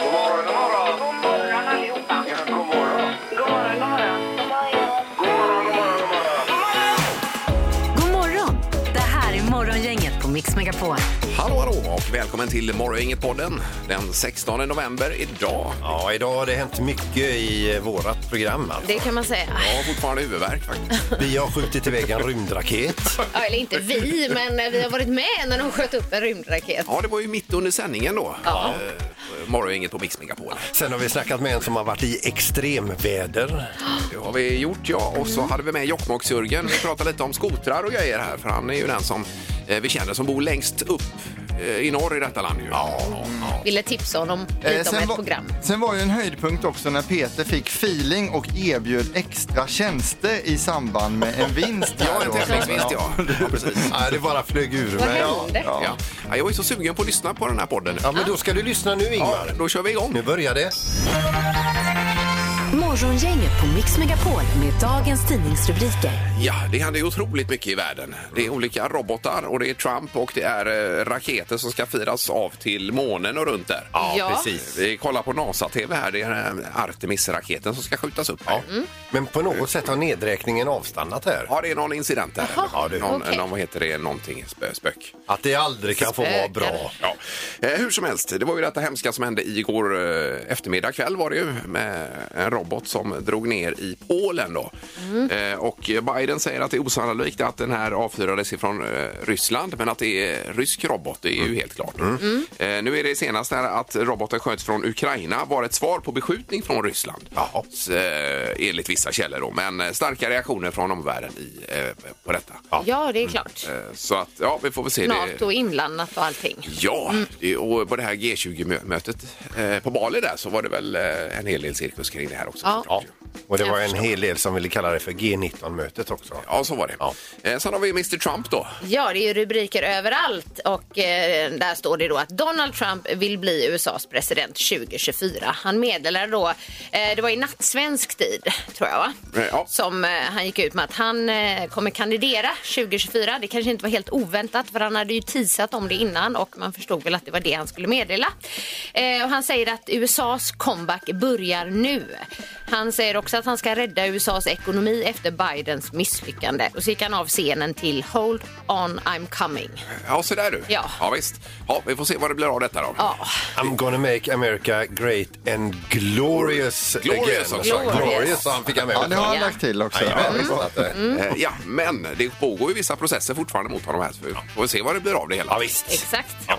God morgon, god morgon. God morgon allihopa. Ja, god morgon. God morgon, god morgon. God morgon, god morgon, god morgon. God morgon! Det här är Morgongänget på Mix Megapol. Hallå, hallå och välkommen till Morgongänget-podden den 16 november idag. Ja, idag har det hänt mycket i eh, vårat program. Alltså. Det kan man säga. Jag har fortfarande huvudvärk faktiskt. Vi har skjutit iväg en rymdraket. Ja, eller inte vi, men eh, vi har varit med när de sköt upp en rymdraket. Ja, det var ju mitt under sändningen då. Ja. Eh, Morgongänget på Mix Megapol. Sen har vi snackat med en som har varit i extremväder. Det har vi gjort ja. Och så hade vi med Jokkmokks-Jörgen. Vi pratade lite om skotrar och grejer här för han är ju den som eh, vi känner som bor längst upp eh, i norr i detta land ju. Ja. Ville tipsa honom Eh, lite om ett var- program. sen var ju en höjdpunkt också när Peter fick feeling och erbjöd extra tjänster i samband med en vinst. Ja, här en då. tävlingsvinst ja. Ja, precis. Nej, det bara flög ur Vad mig. hände? Ja. Ja, Jag är så sugen på att lyssna på den här podden nu. Ja, men då ska du lyssna nu, Ja, Ingmar. då kör vi igång. Nu börjar det. Morgongänget på Mix Megapol med dagens tidningsrubriker. Ja, det händer ju otroligt mycket i världen. Det är olika robotar och det är Trump och det är eh, raketer som ska firas av till månen och runt där. Ja. precis. Vi kollar på NASA-TV här. Det är den här Artemis-raketen som ska skjutas upp. här. Mm. Men på något sätt har nedräkningen avstannat här. Ja, det är någon incident där. Jaha, Ja, det är någon, okej. någon, vad heter det, någonting spö, spök. Att det aldrig kan få vara bra. Ja. Eh, hur som helst, det var ju detta hemska som hände igår eh, eftermiddag kväll var det ju med en robot som drog ner i Polen då. Eh, och Biden säger att det är osannolikt att den här avfyrades ifrån eh, Ryssland men att det är rysk robot, det är ju helt klart. Eh, nu är det senast här att roboten sköts från Ukraina var ett svar på beskjutning från Ryssland. S- Eh, enligt vissa källor då, men eh, starka reaktioner från omvärlden i, eh, på detta. Ja, det är klart. Eh, Så att, ja, vi får väl se. det... Nato inblandat och allting. Ja, det- och på det här G20-mötet eh, på Bali där så var det väl eh, en hel del cirkus kring det här också. Ja. såklart. Och det var Jag en hel del som ville kalla det för G19-mötet också. ja så var det. Ja. Eh, Sen har vi Mr Trump då. Ja, det är ju rubriker överallt och eh, där står det då att Donald Trump vill bli USAs president 2024. Han meddelade då, eh, det var i natt svensk tid tror jag va? Eh, ja. Som eh, han gick ut med att han eh, kommer kandidera 2024. Det kanske inte var helt oväntat för han hade ju teasat om det innan och man förstod väl att det var det han skulle meddela. Eh, och han säger att USAs comeback börjar nu. Han säger också att han ska rädda USAs ekonomi efter Bidens misslyckande. Och så gick han av scenen till Hold on I'm coming. Ja, så där du. Ja. ja visst. Ja, vi får se vad det blir av detta då. Ja, I'm gonna make America great and glorious Glorious again. också. Glorious. Glorious, han fick jag med. Ja, det har han Ja. lagt till också. Jajamän, Ja, visst bra. att det- Mm. Eh, Ja, men det pågår ju vissa processer fortfarande mot honom här. Så vi får se vad det blir av det hela. Ja, visst. exakt. Ja.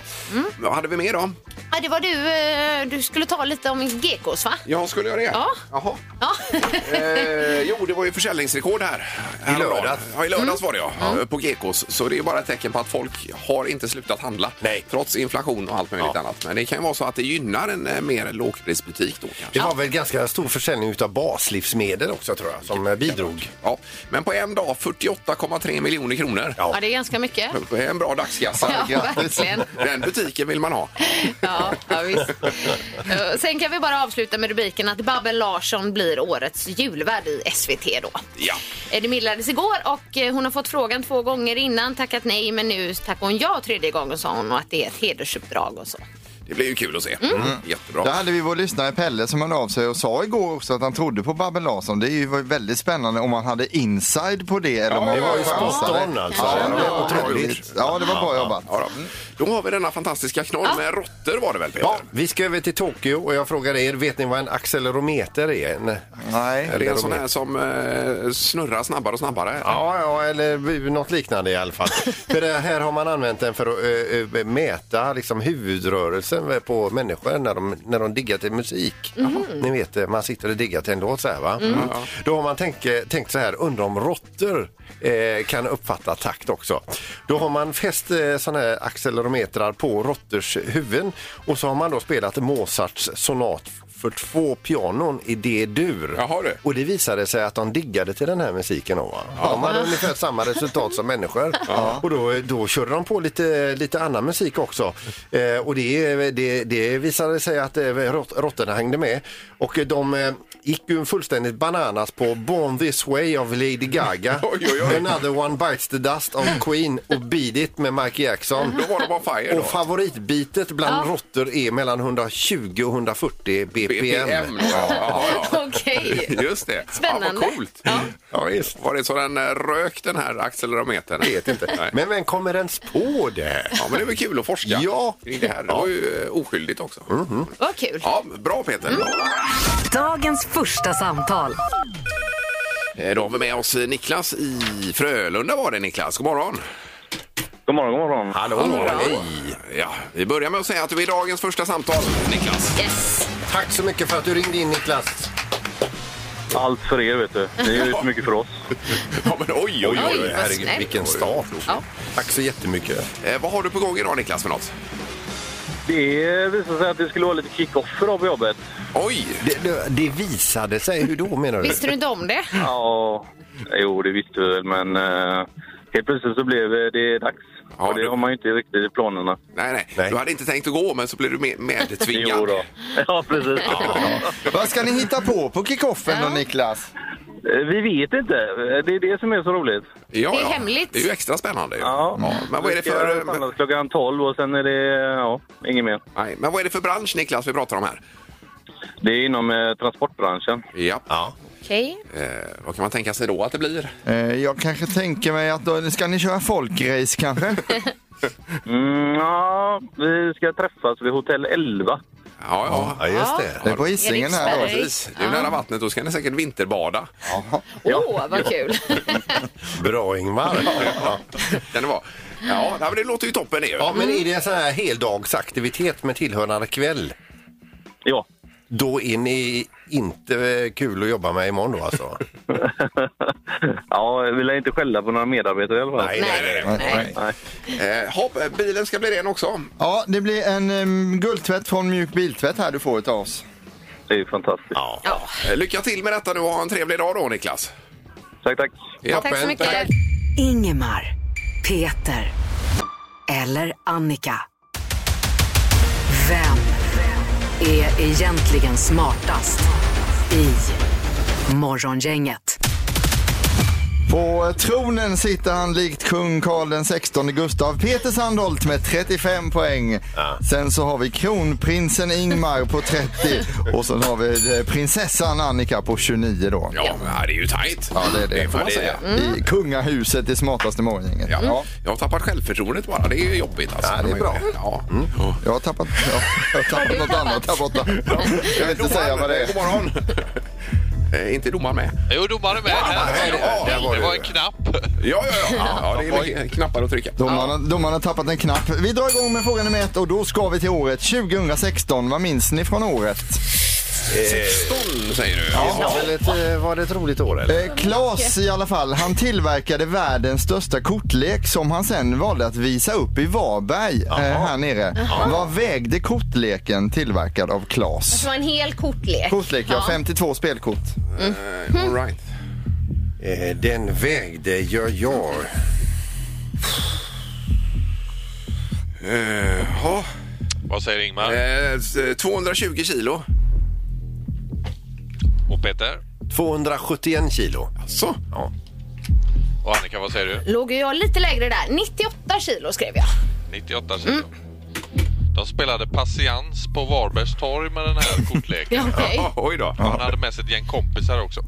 Vad hade vi mer då? Ja, det var du, eh, du skulle ta lite om gekos va? Jag skulle göra det? Ja. Jaha. Ja. Eh, jo, det var ju försäljningsrekord här. I lördags. Häromdagen. Ja, i lördags Mm. var det ja. Eh, På Gekos. Så det är ju bara ett tecken på att folk har inte slutat handla. Nej. Trots inflation och allt möjligt Ja. annat. Men det kan ju vara så att det gynnar en eh, mer lågprisbutik då kanske. Det var väl ganska stor försäljning utav baslivsmedel också tror jag, som eh, bidrog. Ja. Men på en dag 48,3 miljoner kronor. Ja. ja, det är ganska mycket. Det är En bra dagskassa. Ja, verkligen. Den butiken vill man ha. Ja, ja visst. Eh, Sen kan vi bara avsluta med rubriken att Babben Larsson blir årets julvärd i SVT då. Ja. Eh, Det meddelades igår och eh, hon har fått frågan två gånger innan, tackat nej, men nu tackar hon ja tredje gången sa hon och att det är ett hedersuppdrag och så. Det blir ju kul att se. Mm. Jättebra. Där hade vi vår lyssnare Pelle som hörde av sig och sa igår också att han trodde på Babben Larsson. Det är ju väldigt spännande om man hade inside på det eller om man Det var ju chansade. spot on alltså. Ja, det var Ja, bra otroligt. gjort. Ja, det var bra jobbat. Ja, då. då har vi denna fantastiska knorr med råttor var det väl Peter? Ja, vi ska över till Tokyo och jag frågar er, vet ni vad en accelerometer är? En... Nej. Det är en sån här som eh, snurrar snabbare och snabbare. Ja, ja, eller något liknande i alla fall. för det här har man använt den för att ö, ö, mäta liksom, huvudrörelsen på människor när de, när de diggar till musik. Ni vet, eh, man sitter och diggar till en låt så här va? Mm. Då har man tänkt, eh, tänkt så här, undrar om råttor eh, kan uppfatta takt också. Då har man fäst eh, såna här accelerometrar på råttors huvuden och så har man då spelat Mozarts sonat för två pianon i D-dur. Jaha, du. Och det visade sig att de diggade till den här musiken. Då, va? De hade ungefär samma resultat som människor. Och då, då körde de på lite, lite annan musik också. Eh, och det, det, det visade sig att eh, rott- råttorna hängde med. Och eh, de eh, gick ju fullständigt bananas på Born this way av Lady Gaga. Oj, oj, oj. Another one bites the dust av Queen och Beat it med Michael Jackson. Då var de on fire då. Och favoritbitet bland råttor är mellan 120 och 140 BPM. BPM. då, Ja, ja, ja. Okej. Just det. Ja, Spännande. vad coolt. Ja. Ja, visst. Var det så den eh, rök den här accelerometern? Jag vet inte. Nej. Men vem kommer ens på det? Ja, men det är väl kul att forska Ja. Mm-hmm. kring det här. Det var ju eh, oskyldigt också. Vad kul. Ja, bra Peter. Mm. Dagens första samtal. Eh, Då har vi med oss Niklas i Frölunda var det Niklas. God morgon. God morgon, god morgon. Hallå, hej! Ja, vi börjar med att säga att du är dagens första samtal Niklas. Yes. Tack så mycket för att du ringde in Niklas. Allt för er, vet du. Ni är ju inte mycket för oss. Ja, men oj, oj, Oj, oj. vad snällt. vilken start. Ja. Tack så jättemycket. Eh, vad har du på gång idag Niklas för något? Det visade sig att det skulle vara lite kick-off idag på jobbet. Oj! Det, det, det visade sig. Hur då menar du? Visste du inte om det? Ja, jo, det visste vi väl, men eh, helt plötsligt så blev det dags. Ja, och det du- har man ju inte riktigt i planerna. Nej, nej, Nej. Du hade inte tänkt att gå men så blev du med, medtvingad. Jo då. Ja, precis. Vad ska ni hitta på på kickoffen då Niklas? Eh, Vi vet inte. Eh, Det är det som är så roligt. Ja, Det är ja. hemligt. Det är ju extra spännande. ju. Ja. Men vad är det Vi ska för... eh, samlas klockan 12 och sen är det ja, inget mer. Nej, men vad är det för bransch Niklas vi pratar om här? Det är inom eh, transportbranschen. Ja. Okej. Eh, vad kan man tänka sig då att det blir? Eh, jag kanske tänker mig att då, ska ni köra folkrace kanske? Mm, ja, vi ska träffas vid hotell 11. Ja, ja. Ja, just det. Det är på Hisingen här då. Eriksberg. Precis. Det är ju nära vattnet. Då ska ni säkert vinterbada. Åh, vad kul. Bra Ingmar. Ja. Kan det vara? Ja, nej, men det låter ju toppen det. ju. ja, men är det en sån här heldagsaktivitet med tillhörande kväll? Ja. Då är ni inte eh, kul att jobba med imorgon då alltså? ja, vi lär inte skälla på några medarbetare i alla fall. Nej. Nej. Eh, hopp, eh, bilen ska bli ren också. Ja, det blir en em, guldtvätt från Mjuk Biltvätt här du får utav oss. Det är ju fantastiskt. Ja. Eh, Lycka till med detta nu och ha en trevlig dag då Niklas. Tack, tack. Ja, Tack så men- mycket. Ingemar, Peter eller Annika. Vem är egentligen smartast i Morgongänget? På tronen sitter han likt kung Karl den 16 Gustav Peter Sandholt med 35 poäng. Sen så har vi kronprinsen Ingmar på 30 och sen har vi eh, prinsessan Annika på 29 då. Ja, men, ja, det är ju tajt. Ja, det är det. får man Ja, det är säga. Mm. det. I kungahuset i smartaste morgongänget. Ja. Jag har tappat självförtroendet bara. Det är ju jobbigt alltså. Ja, det är bra. Mm. Ja. Jag har tappat, ja, jag har tappat något annat här borta. Jag vill inte säga vad det är. God morgon. Eh, inte domaren med? Jo, domaren med. nej, här. nej, Ja, där var det du. var en knapp. Ja, ja, ja. ja det är mycket knappar att trycka. Domarna, domarna har tappat en knapp. Vi drar igång med fråga nummer ett och då ska vi till året 2016. Vad minns ni från året? 16 Eh, säger du. Ja, men ett, eh, var det ett roligt år eller? Eh, Klas i alla fall, han tillverkade världens största kortlek som han sen valde att visa upp i Varberg eh, här nere. Vad vägde kortleken tillverkad av Det Klas? var en hel kortlek. Kortlek, ja. 52 spelkort. Eh, All right. Eh, Den vägde, gör jag. Eh, ja. Vad säger Ingmar Eh, s- 220 kilo. och Peter? 271 kilo. Så. Ja. Och Annika, vad säger du? Låg ju jag lite lägre där. 98 kilo skrev jag. 98 kilo. De spelade patiens på Varbergs torg med den här kortleken. Ja, okej. oj då. Han hade med sig ett gäng kompisar också.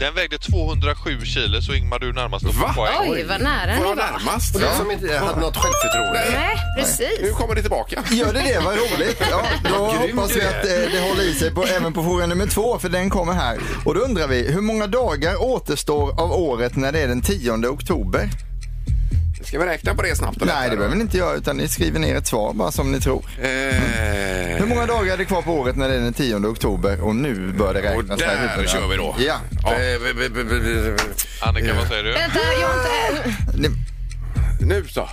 Den vägde 207 kilo, så Ingmar du är närmast att Va? få poäng. Oj, vad nära Var ni var. jag närmast? Och du som inte hade något självförtroende. Nej, Nu precis. kommer det tillbaka. Gör det det? Vad roligt. Ja, då grym hoppas du vi är. att eh, det håller i sig på, även på fråga nummer två, för den kommer här. Och då undrar vi, hur många dagar återstår av året när det är den 10 oktober? Ska vi räkna på det snabbt? och lätt Nej, här det då? behöver ni inte göra, utan ni skriver ner ett svar bara som ni tror. Eh, Hur många dagar är det kvar på året när det är den 10 oktober? Och nu bör det Och räknas. här i där huvudet. kör vi då. Ja. Eh, b- b- b- b- Annika, vad säger du? Vänta, jag har inte... Ni, Nu så.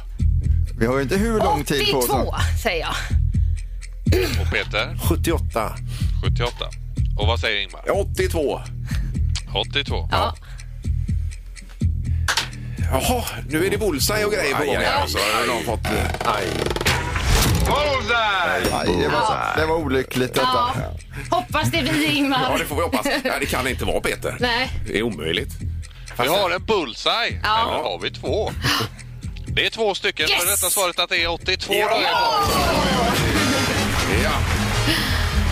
vi har ju inte hur lång tid på oss. 82 säger jag. Och Peter? 78. 78. Och vad säger Ingmar? 82. 82. Ja. Jaha, nu är det bullseye och grejer på gång här. Alltså. Nu har de fått, eh, Aj. Aj, det, var, det var olyckligt detta. ja. Hoppas det blir ja, Ingmar. det får vi hoppas. Nej, det kan inte vara Peter. Nej. Det är omöjligt. Vi har en bullseye. Ja. Eller har vi två? Det är två stycken. Yes! För rätta svaret att det är 82 dagar Ja.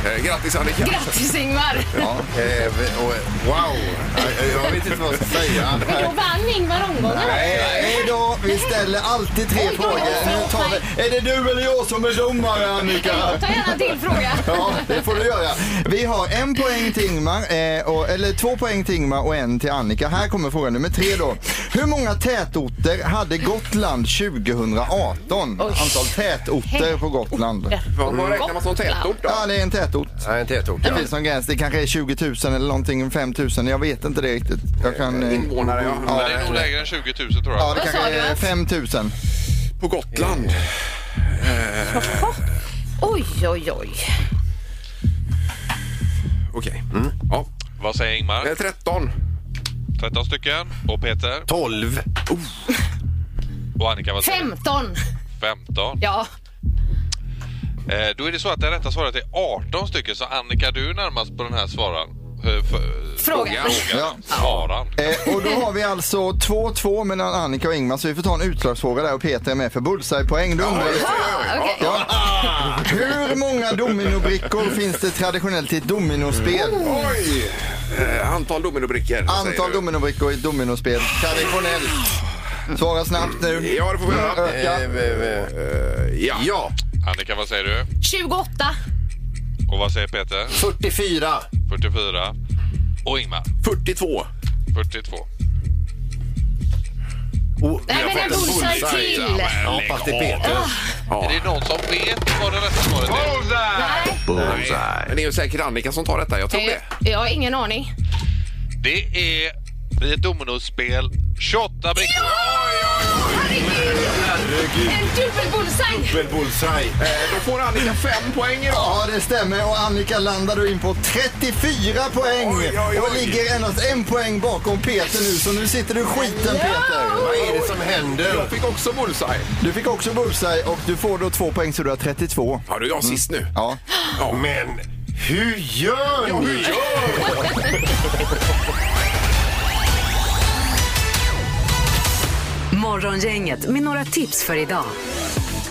Eh, grattis Annika. Grattis Ingmar! Eh, vi- och, wow! Eh, Jag vet inte vad jag ska säga. Men då vann Ingmar omgången. Hej då! Vi ställer alltid tre Oj, frågor. förlåt Nu tar vi... Är det du eller jag som är domare, Annika? Ta gärna en till fråga. Ja, det får du göra. Vi har en poäng till Ingmar, eh, och, eller två poäng till Ingmar och en till Annika. Här kommer fråga nummer tre då. Hur många tätorter hade Gotland 2018? Antal tätorter på Gotland. Vad vad räknar man som tätort då? Ja, det är en tätort. Nej, en tätort. Det finns någon gräns. Det kanske är 20 000 eller någonting, 5 000. Jag vet inte det riktigt. Jag kan... eh, Invånare, ja. kvar. Det är nog lägre än 20 000 tror Ja, jag. det Vad sa kanske du, är Mats? 5 000. På Gotland. Eh. Oj, oj, oj. Okej. Mm. Ja. Vad säger Eh, Ingmar? 13. 13 stycken. Och Peter? 12. Och Annika vad säger du? 15. 15. Ja. Eh, då är det så att det rätta svaret är 18 stycken. Så Annika, du är närmast på den här svaran. Eh, för- Frågan. Frågan. Svaran. Eh, och då har vi alltså 2-2 mellan Annika och Ingmar så vi får ta en utslagsfråga där och Peter är med för bullseye-poäng. Du undrar lite- okej. Ja. Hur många dominobrickor finns det traditionellt i ett dominospel? Oj! Eh, antal dominobrickor. säger Antal du. dominobrickor i ett dominospel traditionellt. Svara snabbt nu. Ja, det får vi göra. Öka. Eh, eh, Ja. ja. Annika, vad säger du? 28. Och vad säger Peter? 44. 44. Och Ingmar? 42. 42. Oh, Nej, men en bullseye till. Ja, fast det är Peter. Ja. Är det någon som vet vad det rätta svaret är? Nej. Nej. Men det är ju säkert Annika som tar detta. Jag tror det. Eh, Jag har ingen aning. Det är i ett dominospel 28 brickor. En dubbel bullseye! Dubbel bullseye. Eh, då får Annika fem poäng idag. Ja, det stämmer. Och Annika landar då in på 34 poäng. Oj, oj, oj. Och ligger endast en poäng bakom Peter nu, så nu sitter du i skiten Peter. Vad är det som händer? Jag fick också bullseye. Du fick också bullseye och du får då två poäng så du har 32. Ja, du är jag sist nu. Ja. Mm. Men hur gör ni? Morgongänget med några tips för idag.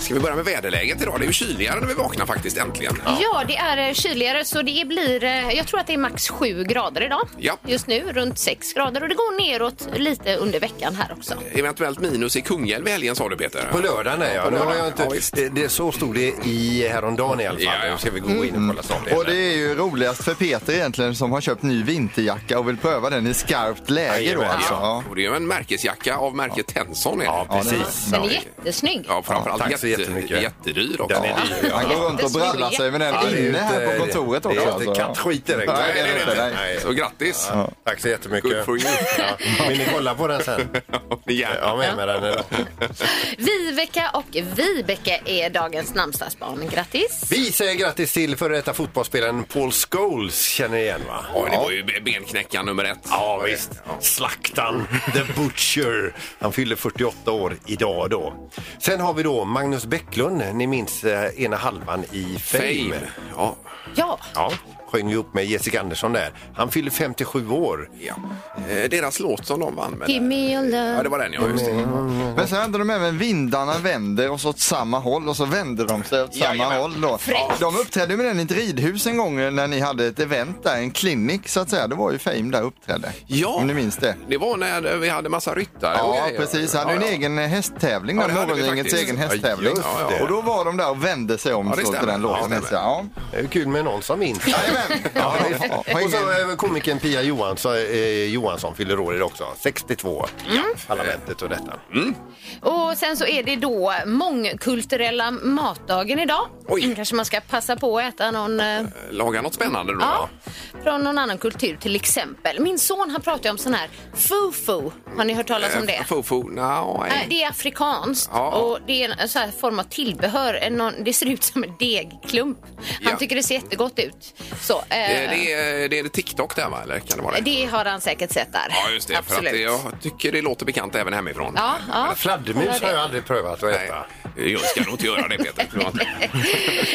Ska vi börja med väderläget idag? Det är ju kyligare när vi vaknar faktiskt äntligen. Ja, det är eh, kyligare så det blir, eh, jag tror att det är max 7 grader idag. Ja. Just nu runt 6 grader och det går neråt lite under veckan här också. Eventuellt minus i Kungälv i helgen sa du Peter. På lördagen är jag. Nu har jag inte, Ja, visst. det, det så stod det i eh, häromdagen i alla fall. Ja, ja. Nu ska vi gå in och kolla snart. Och det är ju roligast för Peter egentligen som har köpt ny vinterjacka och vill pröva den i skarpt läge då Jajamän. alltså. Ja. Ja. Och det är ju en märkesjacka av märket Tenson. Är det. Ja, precis. Den är jättesnygg. Ja, framförallt Ja, tack så jätte, jättemycket. jättedyr också. Den är dyr. Han går runt och brallar sig med den Ja, det är ju inne här inte- på kontoret också. Det är alltså. inte kattskit direkt. Nej, det är det inte. Nej. Så grattis! Tack så Good jättemycket. for you! Ja. Vill ni kolla på den sen? Ja. Jag har med mig den idag. Viveka och Vibeke är dagens namnsdagsbarn. Grattis! Vi säger grattis till före detta fotbollsspelaren Paul Scholes. Känner ni igen va? Oj, det var ju benknäckaren nummer ett. Ja visst. Slaktan, the butcher. Han fyller 48 år idag då. Sen har vi då Magnus Bäcklund. Ni minns eh, ena halvan i Fame. Fame. Ja. Ja, Ja, sjöng vi upp med Jessica Andersson där. Han fyller 57 år. ja. Eh, Deras låt som de vann med. Give me your love. Ja, det var den ja. Just det. Men sen hade de även vindarna vänder oss åt samma håll och så vände de sig åt samma Jajamän. håll då. De uppträdde med den i ett ridhus en gång när ni hade ett event där, en klinik så att säga. Det var ju Fame där uppträdde. Ja. Om ni minns det. Det var när vi hade massa ryttare och Ja, grejer. precis. Han hade ju en egen eh, hästtävling, Ja, ja, det hade vi Morgongängets faktiskt. egen Ja, hästtävling. just det. Och då var de där och vände sig om Ja, det så till stämmer. den Ja, låten. det Ja, ja. Det är ju kul med någon som minns. Jajamän. Ja, visst. Har Och så ingen- eh, komikern Pia Johansson, eh, Johansson fyller år idag också. 62. Mm. Parlamentet och detta. Och sen så är det då mångkulturella matdagen idag. Oj. Kanske man ska passa på att äta någon eh, Laga något spännande då. Ja, från någon annan kultur till exempel. Min son han pratar ju om sån här fufu. Har ni hört talas om det? Eh, Fofo? No, Nej, Det är afrikanskt Ja. och det är en så här form av tillbehör. En någon- Det ser ut som en degklump. Han Ja. tycker det ser jättegott ut. Så, eh, Eh, Det är, det är TikTok där va? Eller kan det vara det? det har han säkert sett där. Ja, just det. För att det- jag tycker det låter bekant även hemifrån. Ja, ja. Fladdermus har jag aldrig prövat att Nej, äta. jag ska nog inte göra det Peter. Förlåt.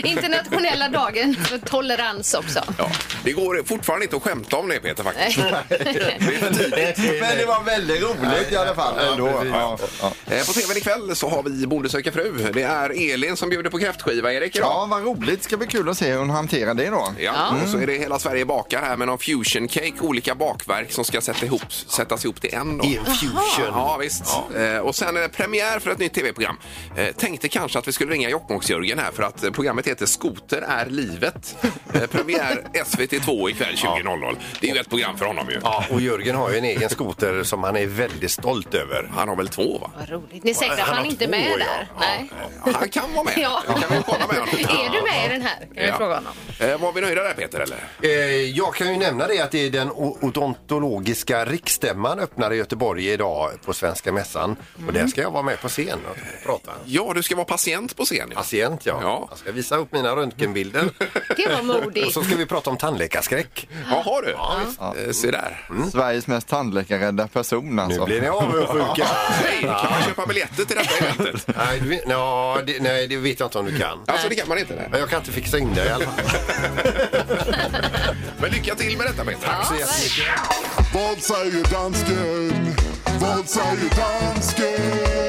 Internationella dagen för tolerans också. Ja, det går fortfarande inte att skämta om det Peter faktiskt. Men det var väldigt roligt i alla fall ändå. precis. Ja, ja. Eh, På tvn ikväll så har vi Bonde söker fru. Det är Elin som bjuder på kräftskiva, Erik. idag. ja, vad roligt. Ska bli kul att se hur hon hanterar det då. Ja, och så är det hela Sverige bakar här med någon fusion cake, olika bakverk som ska sätta ihop, sättas ihop till en. Då. Infusion. Ja, visst. Eh, och sen är det premiär för ett nytt tv-program. Eh, tänkte kanske att vi skulle ringa Jokkmokks-Jörgen här för att eh, programmet heter Skoter är livet. Eh, premiär SVT2 ikväll 20.00. Det är ju ett program för honom ju. Ja, och Jörgen har ju en egen skoter som han är väldigt stolt över. Han har väl två va? Vad roligt. Ni är säkra att Han han, har inte är två, med ja. där? Ja. Nej. Han kan vara med. Ja. Det kan vi kolla med honom. Är du med i den här? Kan vi Ja. fråga honom. Eh, var vi nöjda där Peter eller? Eh, Jag kan ju nämna det att det är den o- odontologiska riksstämman öppnar i Göteborg idag på Svenska Mässan. Och där ska jag vara med på scen och prata. Ja, du ska vara patient på scen. ju. Patient, ja. Ja. Jag ska visa upp mina röntgenbilder. Det var och modigt. så ska vi prata om tandläkarskräck. Jaha du. Eh, Se där. Sveriges mest tandläkarrädda person Nu alltså. blir ni avundsjuka. Nej, kan man köpa biljetter till detta eventet? nej, du, vet- ja, det, nej, det vet jag inte om du kan. Alltså det kan man inte. Men Nej. jag kan inte fixa in det i alla fall. Men lycka till med detta Peter. Ja, verkligen. Vad säger dansken? Vad säger dansken?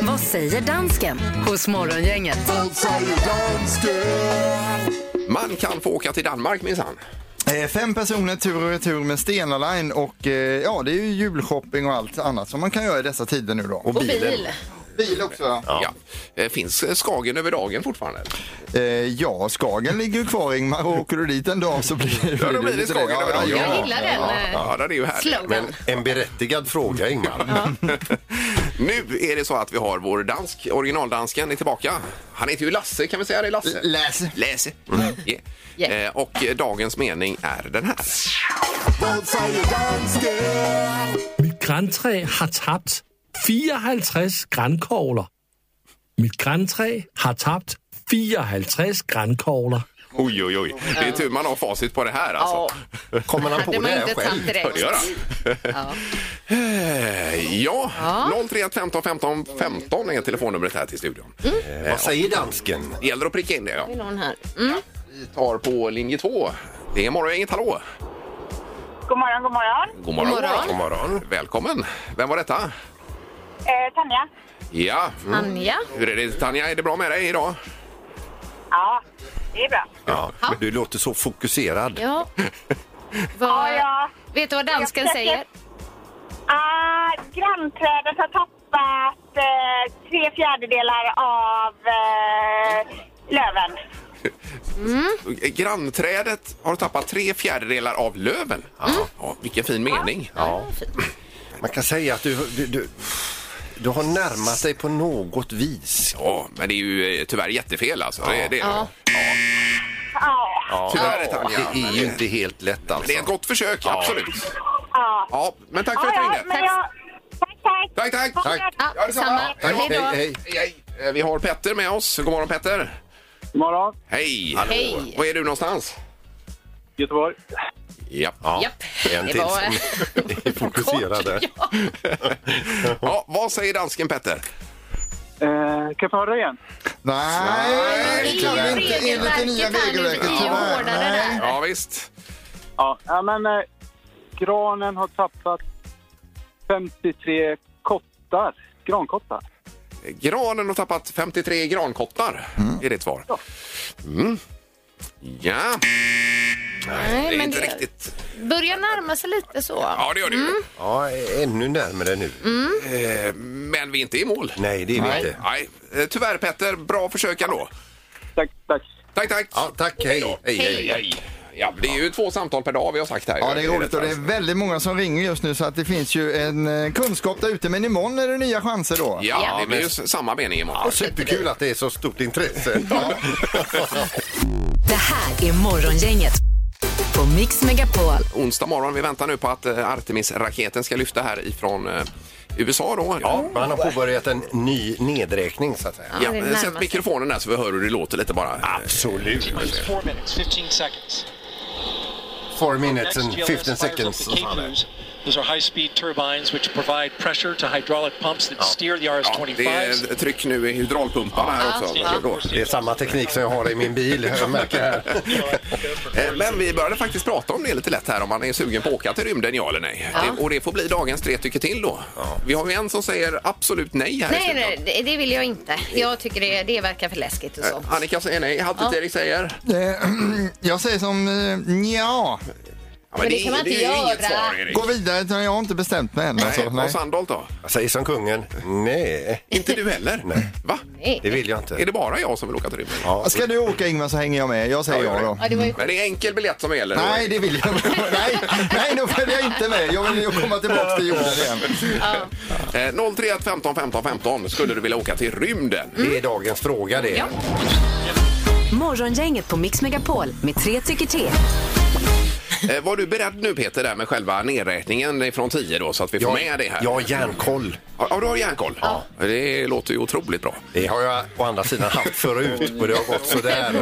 Vad säger dansken hos Morgongänget? Vad säger dansken? Man kan få åka till Danmark minsann. Eh, Fem personer tur och retur med Stena Line och eh, ja, det är ju julshopping och allt annat som man kan göra i dessa tider nu då. Och Och bil. bil också ja. Ja. Eh, Finns eh, Skagen över dagen fortfarande? Eh, ja, Skagen ligger ju kvar Ingmar och åker du dit en dag så blir, Ja, då blir det lite Skagen över dagen. Jag gillar den eh, Ja, det är ju härligt. slogan. En berättigad fråga, Ingmar. Nu är det så att vi har vår dansk, originaldansken, är tillbaka. Han heter ju Lasse, kan vi säga det? Lasse? Lasse. Lasse. Yeah. Yeah. Eh, Och eh, dagens mening är den här. Vad säger dansken? Mit græntræ har tabt 54 grænkogler. Mit græntræ har tabt 54 grænkogler. Oj, oj, oj. Det är tur man har facit på det här alltså. Kommer han på Hade det man här inte själv? tagit Hör det göra. direkt. Eh, Ja, 031 15 15 15 är telefonnumret här till studion. Vad säger dansken? Det gäller att pricka in det. Ja. Vill hon här? Mm. Vi tar på linje 2. Det är morgon, inget hallå. God morgon, god morgon. God morgon. God morgon. God morgon. Välkommen. Vem var detta? Eh, Tanja? Ja, Mm. Anja. hur är det Tanja? Är det bra med dig idag? Ja, det är bra. Ja, men du låter så fokuserad. Ja. Ja, Vad, ja. Vet du vad dansken Jag säger? Ah, grannträdet har tappat eh, tre fjärdedelar av eh, löven. Grannträdet har tappat tre fjärdedelar av löven. Ja, vilken fin mening. Mm. Ja. Man kan säga att du, du, du, du har närmat dig på något vis. Ja, men det är ju eh, tyvärr jättefel alltså. Det, det, Ja. Ja, Tyvärr Tanja. Det är ju inte helt lätt alltså. Det är ett gott försök, absolut. ja. Ja, men tack för Ja, att du ja, ringde. men jag... Tack, tack. Tack, tack. Ha det Tack. gott. Ja, Ja, detsamma. samma. Tack. Hej Hej, då. hej. Hej, hej. Eh, Vi har Petter med oss. God morgon Petter. God morgon, Hej. Hej. Var är du någonstans? Göteborg. Ja. Japp. En Det till var... som är fokuserade. ja. Vad säger dansken Petter? Eh, kan jag få höra det igen? Nej, det kan vi inte Regelverket enligt det nya här nu, regelverket det är ju tyvärr. hårdare Nej. där. Ja, visst. Ja, ja men eh, granen har tappat 53 kottar. Grankottar. Granen har tappat 53 grankottar, är ditt svar. Mm. Ja, det Nej, är men inte det Mm. riktigt... börjar närma sig lite så. Ja, det gör det ju. Ja, ännu närmare nu. Eh, Men vi är inte i mål. Nej, det är vi inte. Nej, eh, tyvärr Petter. Bra försök ändå. Tack, tack. Tack, tack. Ja, tack, hej. hej, hej. Ja, det är ju två samtal per dag vi har sagt här. Ja, det är roligt och det är väldigt många som ringer just nu så att det finns ju en eh, kunskap där ute. Men imorgon är det nya chanser då. Ja, det blir ju s- samma mening imorgon. Superkul att det är så stort intresse. Det här är Morgongänget på Mix Megapol. Onsdag morgon. Vi väntar nu på att eh, Artemis-raketen ska lyfta här ifrån eh, USA då. Ja. Man har påbörjat en ny nedräkning så att säga. det närmar Ja, sig. sätt mikrofonen där så vi hör hur det låter lite bara. Absolut. Four minutes, 15 seconds. Four minutes and 15 seconds. och så här. Those are high-speed turbines which provide pressure to hydraulic pumps that steer the RS-25. Det är tryck nu i hydraulpumparna här också. Ja. Då. Det är samma teknik som jag har i min bil. Jag märker här. Eh, Men vi började faktiskt prata om det lite lätt här om man är sugen på att åka till rymden, ja eller nej. Det, och det får bli dagens tre tycker till då. Vi har ju en som säger absolut nej här i Nej, studion. nej, det- det vill jag inte. Jag tycker det, det verkar för läskigt och så. Eh, Annika säger nej, Halvtids Erik säger... Eh, Jag säger som eh, nja. Ja, Men det kan man är inte ju inget göra. svar Erik. Gå vidare, utan jag har inte bestämt mig än. Alltså. Nej, Nej. och Sandholt då? Jag säger som kungen. Nej, Inte du heller? Nej. Va? det vill jag inte. Är det bara jag som vill åka till rymden? Ja, Ska du åka Ingmar så hänger jag med. Jag säger ja då. Ja, det var ju Men det är enkel biljett som gäller. Nej, det vill jag inte. Nej, nej, då följer jag inte med. Jag vill ju komma tillbaka till jorden igen. Eh, 031 15 15 15 skulle du vilja åka till rymden. det är dagens fråga det. Morgongänget på Mix Megapol med tre tycker till. Eh, var du beredd nu Peter där med själva nedräkningen från 10 då så att vi får med det här? Jag har järnkoll. Ja, du har järnkoll? Ja. Det låter ju otroligt bra. Det har jag å andra sidan haft förut och det har gått sådär.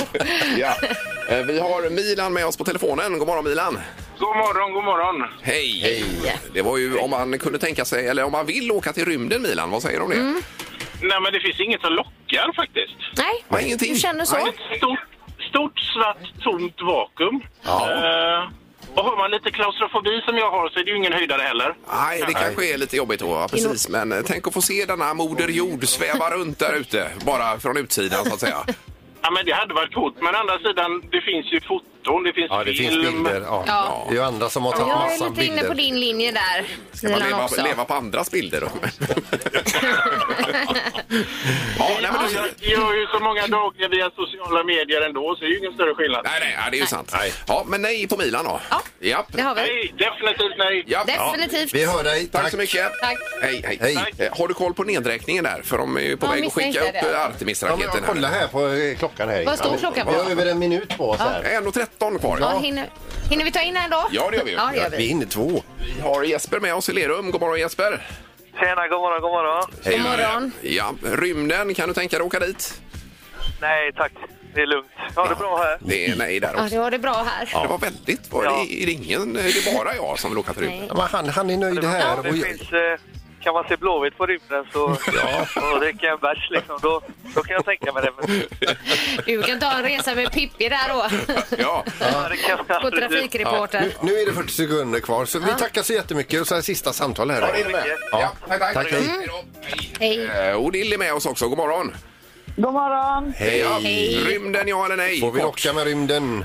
Ja. Eh, Vi har Milan med oss på telefonen. God morgon Milan! God morgon, god morgon. Hej! Det var ju om man kunde tänka sig, eller om man vill åka till rymden Milan, vad säger du om det? Nej, men det finns inget som lockar faktiskt. Nej, Nej, ingenting. du känner så? Nej. Stort, stort svart, tomt vakuum. Ja. Eh, och har man lite klaustrofobi som jag har så är det ju ingen höjdare heller. Nej, det kanske är lite jobbigt då, ja, precis. Men eh, tänk att få se denna moder jord sväva runt där ute, bara från utsidan så att säga. Ja, men det hade varit coolt. Men å andra sidan, det finns ju foton, det finns Ja, det film. finns bilder. Ja. Ja. Det är ju andra som har tagit Jag massa är lite inne på bilder. din linje där, Kan man Milan leva, också. leva på andras bilder då? ja, nej, men du, Jag gör ju så många dagar via sociala medier ändå, så det är ju ingen större skillnad. nej, nej, ja, det är ju sant. Ja, men nej på Milan då. Ja, Japp. Det har vi. Nej, definitivt nej. Japp. Definitivt. Vi hör dig. Tack, så mycket. Tack. Hej, hej. Hej. Eh, Har du koll på nedräkningen där? För de är ju på Ja, väg att skicka misstänkte upp jag det. Ja, men artmisraketen. kolla här på eh, klockan här. Vad står klockan på? Vi har över en minut på oss här. 1.13 Eh, kvar. Ja, hinner, hinner vi ta in en då? Ja, det gör vi ju. Ja, det gör Vi är vi. inne två. Vi har Jesper med oss i Lerum. God morgon Jesper! Tjena, god morgon, god morgon. Hej. morgon. Ja, rymden, kan du tänka dig att åka dit? Nej, tack. Det är lugnt. Ha det bra här. Det är nej där Ja, också. det var det bra här. Det var väldigt... Var Ja. det, är det ingen, är det bara jag som vill åka till rymden? Nej. Ja, men han, han är nöjd här. Det Och jag, finns, eh, kan man se Blåvitt på rymden så, och dricka en bärs liksom, då, då kan jag tänka mig det. Men, Du kan ta en resa med Pippi där då. Ja. ja, det kan jag På aldrig bli. trafikreportern. nu, nu är det 40 sekunder kvar, så vi tackar så jättemycket. Och så här sista samtal här. det är med. Ja, tack, tack. Tack, hej. Hej då. Hej. Eh, Och Dill är med oss också. God morgon! God morgon. Ja. Rymden, ja eller nej? Får vi Kort. locka med rymden?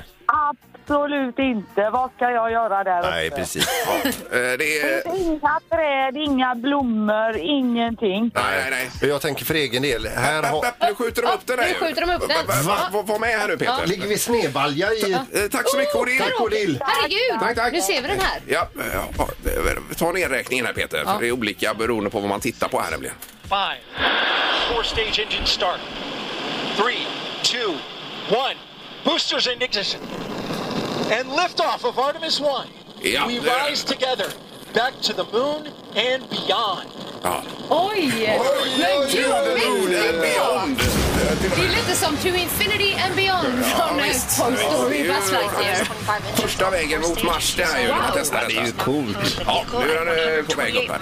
Absolut inte. Vad ska jag göra där Nej, uppe? precis. Eh, Det är... Inga träd, inga blommor, ingenting. Nej, nej, nej. Och Jag tänker för egen del. Här Pepp, har... pepp, nu skjuter de upp den här nu ju. skjuter de upp den. Va- va- va- Var med här nu Peter. Ligger vi snedbalja i... Eh, Tack så mycket Odil. Tack, Odil. Herregud, Tack, tack. nu ser vi den här. Ja, eh, ja, eh, ta ner räkningen här Peter. För det är olika beroende på vad man tittar på här nämligen. Five, four-stage engine start. Three, two, one. Boosters in ignition. And liftoff of Artemis 1. Ja, we det är det. rise together, back to the moon and beyond. Ja. Oj! Men gud vad mäktigt! Det är lite som To Infinity and Beyond från eh, Toy Story Buzz Lightyear. Första vägen mot Mars det här är ju. när man testar detta. coolt. Ja, nu är den eh, på väg upp här.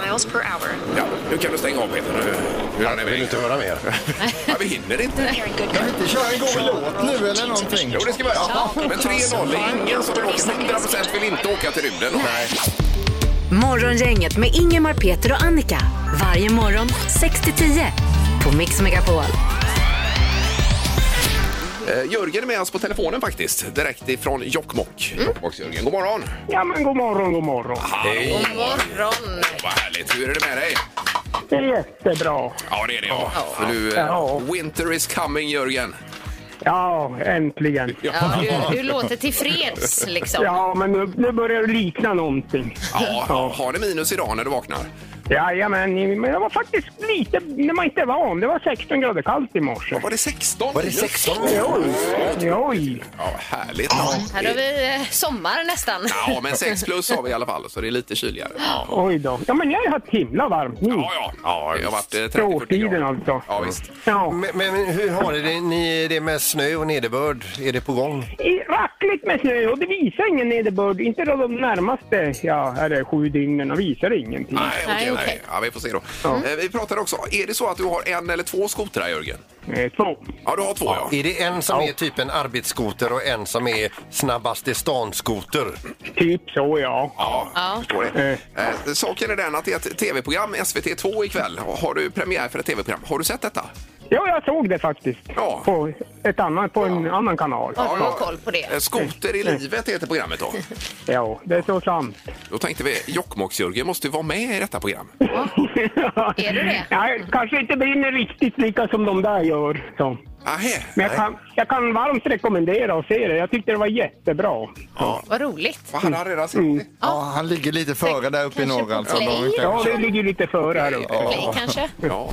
Ja, nu kan du stänga av Peter. Nu- Nu är den Jag vill iväg. inte höra mer. Ja, vi hinner inte. Kan vi inte köra en god låt nu eller någonting? Jo, det ska vi göra. Men 3-0. Det är ingen som vill åka. 100% vill inte åka till rymden. Morgongänget med Ingemar, Peter och Annika. Varje morgon 6 till 10 på Mix Megapol. Eh, Jörgen är med oss på telefonen faktiskt. Direkt ifrån Jokkmokk. Jokkmokks-Jörgen. God morgon! Ja, men god morgon, god morgon. Hej! God morgon! Vad härligt. Hur är det med dig? Det är jättebra. Ja, det är det. Ja. För du, eh, Ja. Winter is coming, Jörgen. Ja, äntligen. Ja, du, du låter tillfreds liksom. Ja, men nu, nu börjar det likna någonting. Ja, Har det minus idag när du vaknar? Jajamän, men det var faktiskt lite när man inte var van. Det var 16 grader kallt i morse. Var det 16? Var det 16? Jo. Oj. Ja, härligt. Ja. Här har vi eh, sommar nästan. Ja, men 6 plus har vi i alla fall, så det är lite kyligare. Ja, Oj då. Ja, men jag har haft himla varmt nu. ja. ja det har varit eh, 30-40 Stråltiden grader. alltså. Ja, visst. Ja. Men, men hur har ni det? ni det med snö och nederbörd? Är det på gång? I- Rackligt med snö och det visar ingen nederbörd. Inte då de närmaste ja, är det sju dygnen och visar ingenting. Nej, okej. Nej, okej. nej. Ja, vi får se då. Eh, Vi pratade också, är det så att du har en eller två skotrar, Jörgen? Eh, Så. Ja, du har två, ja. Är det en som är typ en arbetsskoter och en som är snabbast i stan-skoter? Typ så ja. Ja, jag förstår det. Eh, saken är den att det är ett tv-program, SVT2 ikväll. Har du premiär för ett tv-program? Har du sett detta? Ja, jag såg det faktiskt. Ja. På, ett annan, på en annan kanal. Har du någon koll på det? Eh, Skoter i livet heter programmet då. Ja, det är så sant. Då tänkte vi, Jokkmokks-Jörgen måste ju vara med i detta program. Är du det? Nej, kanske inte brinner riktigt lika som de där gör. Så. Ahä. Men jag kan, jag kan varmt rekommendera att se det. Jag tyckte det var jättebra. Vad roligt. Vad hade han redan Mm, sett? det? Ja, han ligger lite före där uppe i Kanske norr på alltså. play. De inte- Ja, det ligger lite före här uppe. Play kanske? Ja,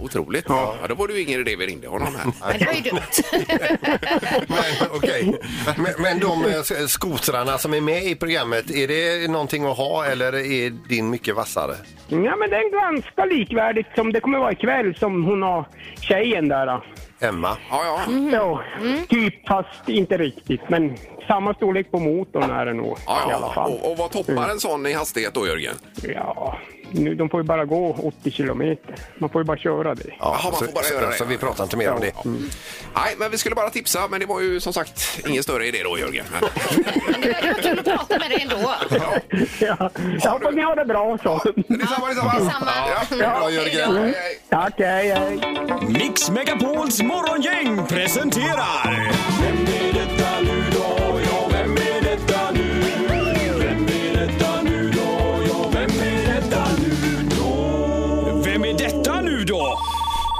otroligt. Ja, då var det ju ingen idé vi ringde honom här. Men det var ju dumt. Men okej. Men, men de eh, sk- skotrarna som är med i programmet, är det någonting att ha eller är din mycket vassare? Ja, men det är ganska likvärdigt som det kommer vara ikväll som hon har tjejen där. då. Emma? Ja, ja. Ja, typ fast inte riktigt. Men samma storlek på motorn är det nog ja, i alla ja. fall. Och, och vad toppar en sån i hastighet då, Jörgen? Ja, nu, de får ju bara gå 80 kilometer. Man får ju bara köra det. Ja, Jaha, man så, får bara så, göra det. så vi pratar inte mer om det. Mm. Nej, men vi skulle bara tipsa, men det var ju som sagt ingen större idé då, Jörgen. Men det var det var kul att prata med dig ändå. Ja. Jag hoppas ni har det bra så. Detsamma, detsamma! Detsamma. Bra Jörgen! Hej, hej. Tack, hej, hej. Mix Megapols morgongäng presenterar... Vem är detta nu då? Ja, vem är detta nu? Vem är detta nu då? Ja, vem är detta nu då? Vem är detta nu då?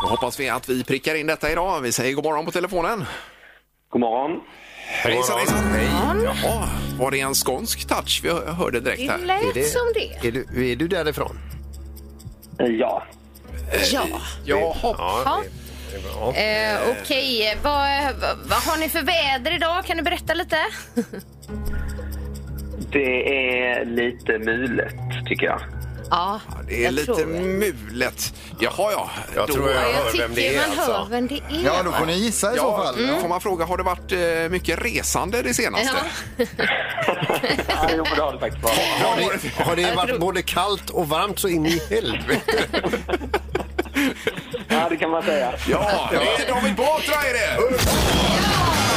Då hoppas vi att vi prickar in detta idag. Vi säger god morgon på telefonen. God morgon. Hejsan, hejsan. Hej. Jaha, var det en skånsk touch vi hö- hörde direkt Det här? Är det- lät som det. Är du, är du därifrån? Ja. Ja. Jaha. ja. Eh, Okej, vad, vad, vad har ni för väder idag? Kan du berätta lite? Det är lite mulet, tycker jag. Ja, Det är jag lite tror det. mulet. Jaha, ja. Jag Då- tror jag- Ja, hör jag vem det tycker är, man alltså. hör vem det är. Ja, då får ni gissa i så Ja, fall. får man fråga, har det varit eh, mycket resande det senaste? Ja. jo, det har det faktiskt varit. Har det, har det varit både kallt och varmt så in i helvete? Ja, det kan man säga. Ja, det är David Batra är det! Ja,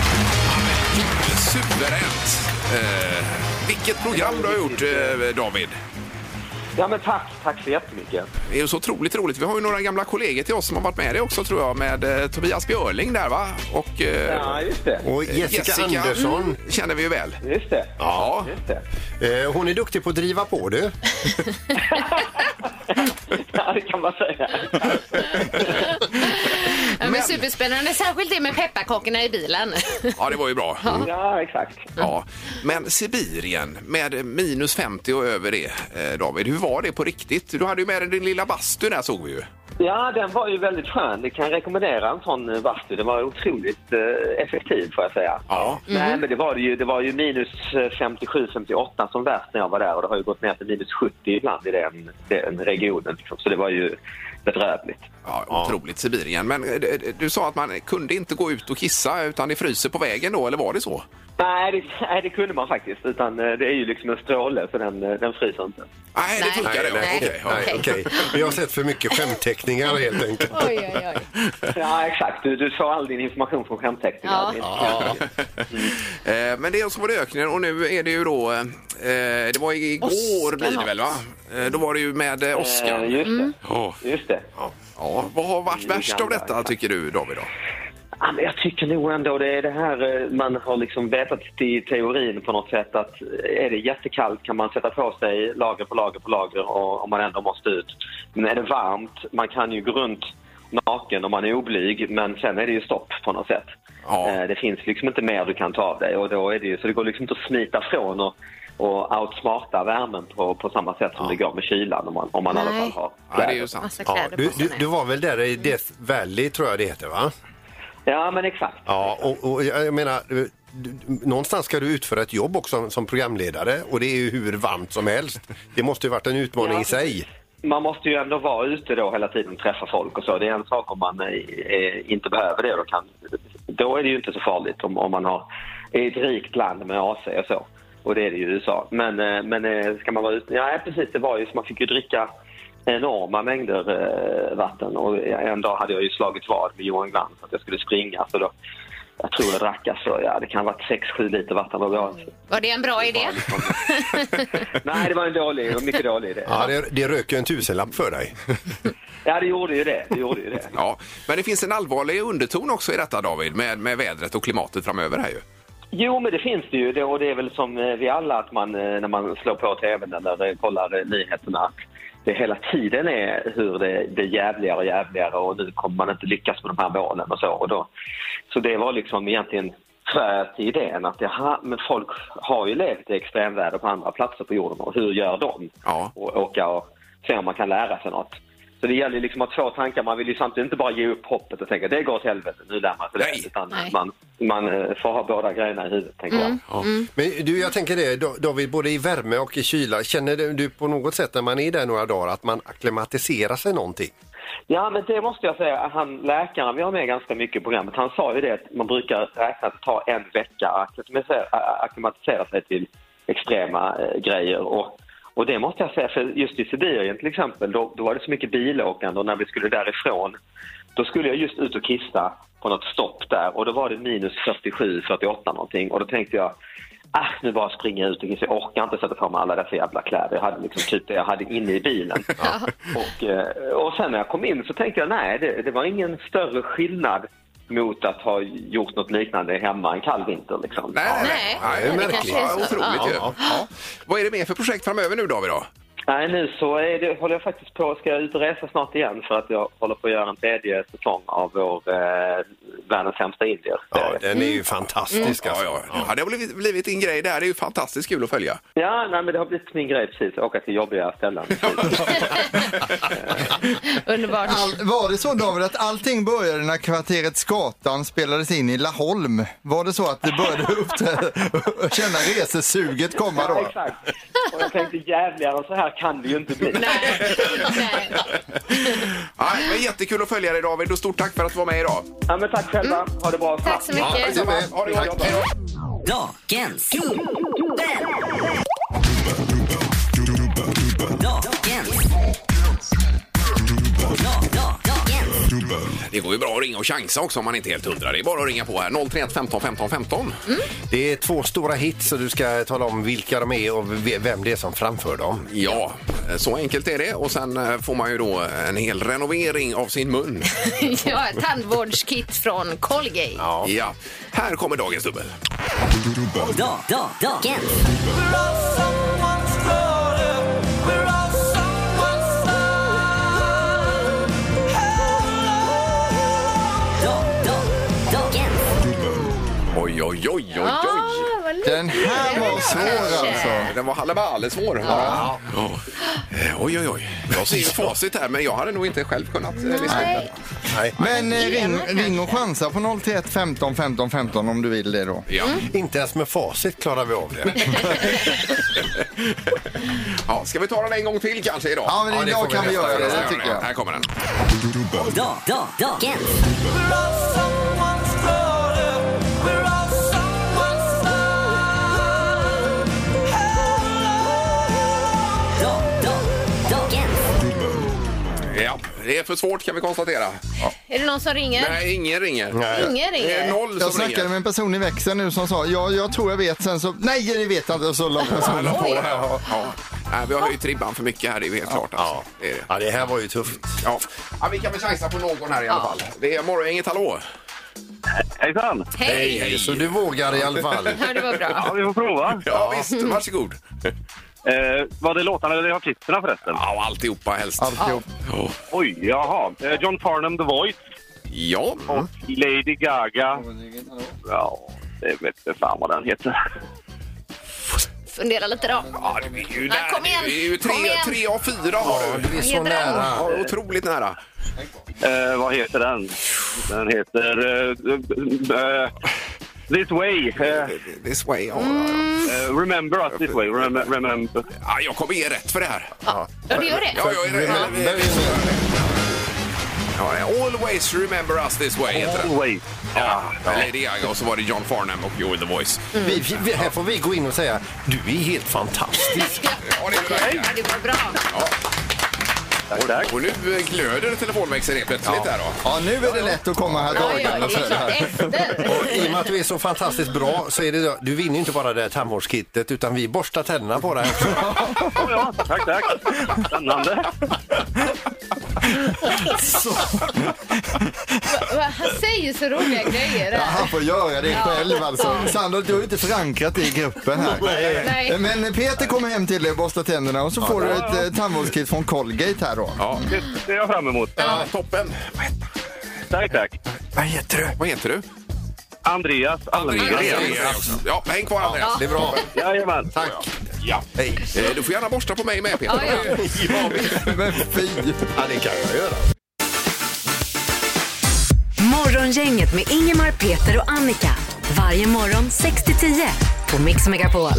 men Suveränt! Eh, vilket program du har gjort, eh, David. Ja, men tack. Tack så jättemycket. Det är ju så otroligt roligt. Vi har ju några gamla kollegor till oss som har varit med i det också, tror jag, med eh, Tobias Björling där, va? Och eh, Mm, Ja, just det. Och Jessica, Andersson, känner vi ju väl. Just det. Ja. Just det. eh, hon är duktig på att driva på du. Ja, det kan man säga. Ja, men superspännande, särskilt det med pepparkakorna i bilen. Ja, det var ju bra. Mm. Ja, exakt. Ja. Men Sibirien med minus 50 och över det, eh, David. Hur var det på riktigt? Du hade ju med dig din lilla bastu där såg vi ju. Ja, den var ju väldigt skön. Det kan jag rekommendera en sån eh, bastu. Den var otroligt eh, effektiv får jag säga. Ja. Nej, men det var det ju. Det var ju minus 57-58 som värst när jag var där och det har ju gått ner till minus 70 ibland i den, den regionen. Liksom. Så det var ju bedrövligt. Ja, otroligt Sibirien. Men eh, d- du sa att man kunde inte gå ut och kissa utan det fryser på vägen då, eller var det så? Nej det, nej, det kunde man faktiskt. Utan eh, det är ju liksom en stråle så den, eh, den fryser inte. Nej, det Nej. funkar det. Nej. Okej, ja. Nej, okej. Vi har sett för mycket skämtteckningar helt enkelt. Oj, oj, oj. Ja, exakt. Du, du får all din information från skämtteckningar. Ja. Eh, Men det är så var det öknen och nu är det ju då, eh, det var igår blir det väl va? Eh, Då var det ju med eh, Eh, Oskar. just det. Ja. Just det. Ja, vad har varit Uganda, värst av detta exakt. tycker du David? Då? Ja, men jag tycker nog ändå det är det här eh, man har liksom vetat i teorin på något sätt att eh, är det jättekallt kan man sätta på sig lager på lager på lager och, om man ändå måste ut. Men är det varmt, man kan ju gå runt naken om man är oblyg men sen är det ju stopp på något sätt. Ja. Eh, Det finns liksom inte mer du kan ta av dig och då är det ju, så det går liksom inte att smita från och, och outsmarta värmen på, på samma sätt som det går med kylan om man, om man i alla fall har Nej, det är ju sant. Massa Ja, kläder på du, sig du, med. du var väl där i Death Valley tror jag det heter va? Ja men exakt. Ja, och, och jag jag menar, du, du, någonstans ska du utföra ett jobb också som programledare och det är ju hur varmt som helst. Det måste ju varit en utmaning i sig. Man måste ju ändå vara ute då hela tiden och träffa folk och så. Det är en sak om man eh, eh, inte behöver det. Då, kan, då är det ju inte så farligt om, om man har, är i ett rikt land med AC och så. Och det är det ju i USA. Men, eh, men eh, ska man vara ute? Ja precis, det var ju så man fick ju dricka enorma mängder eh, vatten. Och en dag hade jag ju slagit vad med Johan Glans att jag skulle springa. Så då, jag tror jag drack alltså, ja, det kan ha varit 6-7 liter vatten. Och jag, Var det en bra idé? nej, det var en dålig, en mycket dålig idé. Ja, det, det röker ju en tusenlapp för dig. Ja, det gjorde ju det. det, gjorde ju det. Ja, men det finns en allvarlig underton också i detta David med, med vädret och klimatet framöver här ju. Jo, men det finns det ju. Det- Och det är väl som eh, vi alla att man eh, när man slår på tvn eller eh, kollar eh, nyheterna att det hela tiden är hur det det är jävligare och jävligare och nu kommer man inte lyckas med de här målen och så. Och då, så det var liksom egentligen tvärt i idén att jaha, men folk har ju levt i extremväder på andra platser på jorden och hur gör de? Och åka och se om man kan lära sig något. Så det gäller ju liksom att ha två tankar. Man vill ju samtidigt inte bara ge upp hoppet och tänka det går åt helvete, nu lär man sig det. Utan Nej. man, man eh, får ha båda grejerna i huvudet, tänker jag. Ja. Men du, jag tänker det Da- David, både i värme och i kyla, känner du du på något sätt när man är där några dagar att man akklimatiserar sig någonting? Ja, men det måste jag säga. Han, läkaren vi har med ganska mycket i programmet, han sa ju det att man brukar räkna att ta en vecka att akklimatisera- att akklimatisera sig till extrema eh, grejer. Och, och det måste jag säga, för just i Sibirien till exempel, då, då var det så mycket bilåkande och när vi skulle därifrån, då skulle jag just ut och kissa på något stopp där och då var det minus 47, 48 någonting och då tänkte jag Ah, nu bara springer jag ut och kissa. Jag orkar inte sätta på mig alla dessa jävla kläder. Jag hade liksom typ det jag hade inne i bilen. Och, eh, och sen när jag kom in så tänkte jag nej, det, det var ingen större skillnad mot att ha gjort något liknande hemma en kall vinter. Liksom. Nej, nej, det är märkligt. Ja, otroligt ju. Ja. Vad är det mer för projekt framöver nu David då? Nej, nu så är det, håller jag faktiskt på, ska jag ut och resa snart igen för att jag håller på att göra en tredje säsong av vår eh, Världens sämsta indier. Ja, Den är ju fantastisk Mm. Ja, alltså. ja. ja, det har blivit, blivit din grej där. Det är ju fantastiskt kul att följa. Ja, nej, men det har blivit min grej precis, åka till jobbiga ställen. Underbart. All, var det så David att allting började när kvarteret Skatan spelades in i Laholm? Var det så att det började uppträda, känna resesuget komma Ja, då? exakt. Och jag tänkte jävligare än så här kan det ju inte bli. Ja, men jättekul att följa dig David och stort tack för att du var med idag. Ja, men tack själva. Ha det bra. Tack så mycket. Ja, detsamma. ha det gott. Hej då. Dagens dubbel. Dagens. Det går ju bra att ringa och chansa också om man inte är helt hundra. Det är bara att ringa på här. 031 15 15 15. Det är två stora hits och du ska tala om vilka de är och ve- vem det är som framför dem. Ja, så enkelt är det. Och sen eh, får man ju då en hel renovering av sin mun. ja, ett tandvårdskit från Colgate. Ja. Här kommer dagens dubbel. Oj, oj, oj, oj, oj. Den här var svår alltså. Den var hallebalesvår. Ja. Ja. Eh, Oj, oj, oj. Jag ser ju facit här, men jag hade nog inte själv kunnat eh, lista ut det. Nej. Men eh, ring, ring och chansa på 031 15 15 15 om du vill det då. Ja. Inte ens med facit klarar vi av det. Ja, ska vi ta den en gång till kanske idag? Ja, men idag det får kan vi nästan göra det, nästan det tycker göra. jag. Här kommer den. Ja, det är för svårt kan vi konstatera. Ja. Är det någon som ringer? Nej, ingen ringer. Ingen ringer. Det är noll Jag som snackade ringer. med en person i växeln nu som sa ja, jag tror jag vet. Sen så, nej det vet jag inte. Och så la personen på. Ja. Ja. Nej, vi har höjt ribban för mycket här, det är ju helt klart. Alltså. Det är det. Ja, det här var ju tufft. Ja. Ja, vi kan väl chansa på någon här i alla fall. Det är morgongänget, hallå! Hejsan! Hej! Så du vågar i alla fall. Ja, det var bra. Ja, vi får prova. Ja, visst, varsågod. Eh, var det låtarna eller artisterna förresten? Ja, alltihopa helst. Alltihop. Ja. Oj, jaha. Eh, John Farnham, The Voice. Ja. Och Lady Gaga. Ja, det vet jag fan vad den heter. Fundera lite då. Ja, det är ju där. kom igen. Det är ju tre, Kom igen. tre av fyra har du. det är så Hedra. nära. Ja, otroligt nära. Eh, vad heter den? Den heter... eh, eh, this way. eh. This way, ja. Mm. Eh, remember us this way. Remember. remember. Ja, jag kommer ge rätt för det här. Ja, du gör det. Ja, jag är rädd. Ja, always remember us this way heter den. Always. Ja, Lady Gaga och så var det John Farnham och You're the voice. Mm. Vi, vi, här får vi gå in och säga du är helt fantastisk. Ja, det var bra. Och, och nu glöder telefonväxeln helt plötsligt här då. Ja, nu är det lätt att komma här dragande. för det här. Och I och med att du är så fantastiskt bra så är det, du vinner ju inte bara det här tandvårdskittet utan vi borstar tänderna på dig också. Ja, ja, tack, tack. Spännande. Va- va- Han säger så roliga grejer. Ja, han får göra det Ja. själv alltså. Sandra, du har ju inte förankrat det i gruppen här. Nej. Men Peter kommer hem till dig, borstar tänderna och så får du ett eh, tandvårdskit från Colgate här då. Ja. Det ser jag fram emot. Ja, toppen. Vad heter- Tack, tack. Vad heter du? Vad heter du? Andreas Almgren. Andreas. Ja, häng kvar Andreas. Det är bra. Jajamän. Tack. Ja. Hej. Eh, Du får gärna borsta på mig med Peter. Ja, ja. Men fy! Ja, det kan jag göra. Morgongänget med Ingemar, Peter och Annika. Varje morgon 6-10 på Mix Megapol.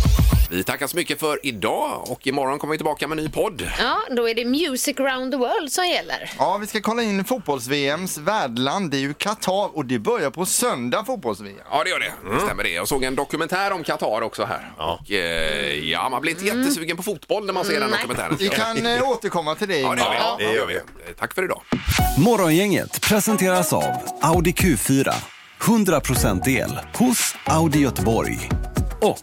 Vi tackar så mycket för idag och imorgon kommer vi tillbaka med en ny podd. Ja, då är det Music Round the World som gäller. Ja, vi ska kolla in fotbolls-VMs värdland. Det är ju Qatar och det börjar på söndag, fotbolls-VM. Ja, det gör det. Det Mm. Stämmer det. Jag såg en dokumentär om Qatar också här. Ja, och, eh, ja man blir inte jättesugen på fotboll när man ser den dokumentären. Vi kan eh, återkomma till det. Ja, det Ingmar. gör vi. Det gör vi. Tack för idag. Morgongänget presenteras av Audi Q4. 100% el hos Audi Göteborg. Och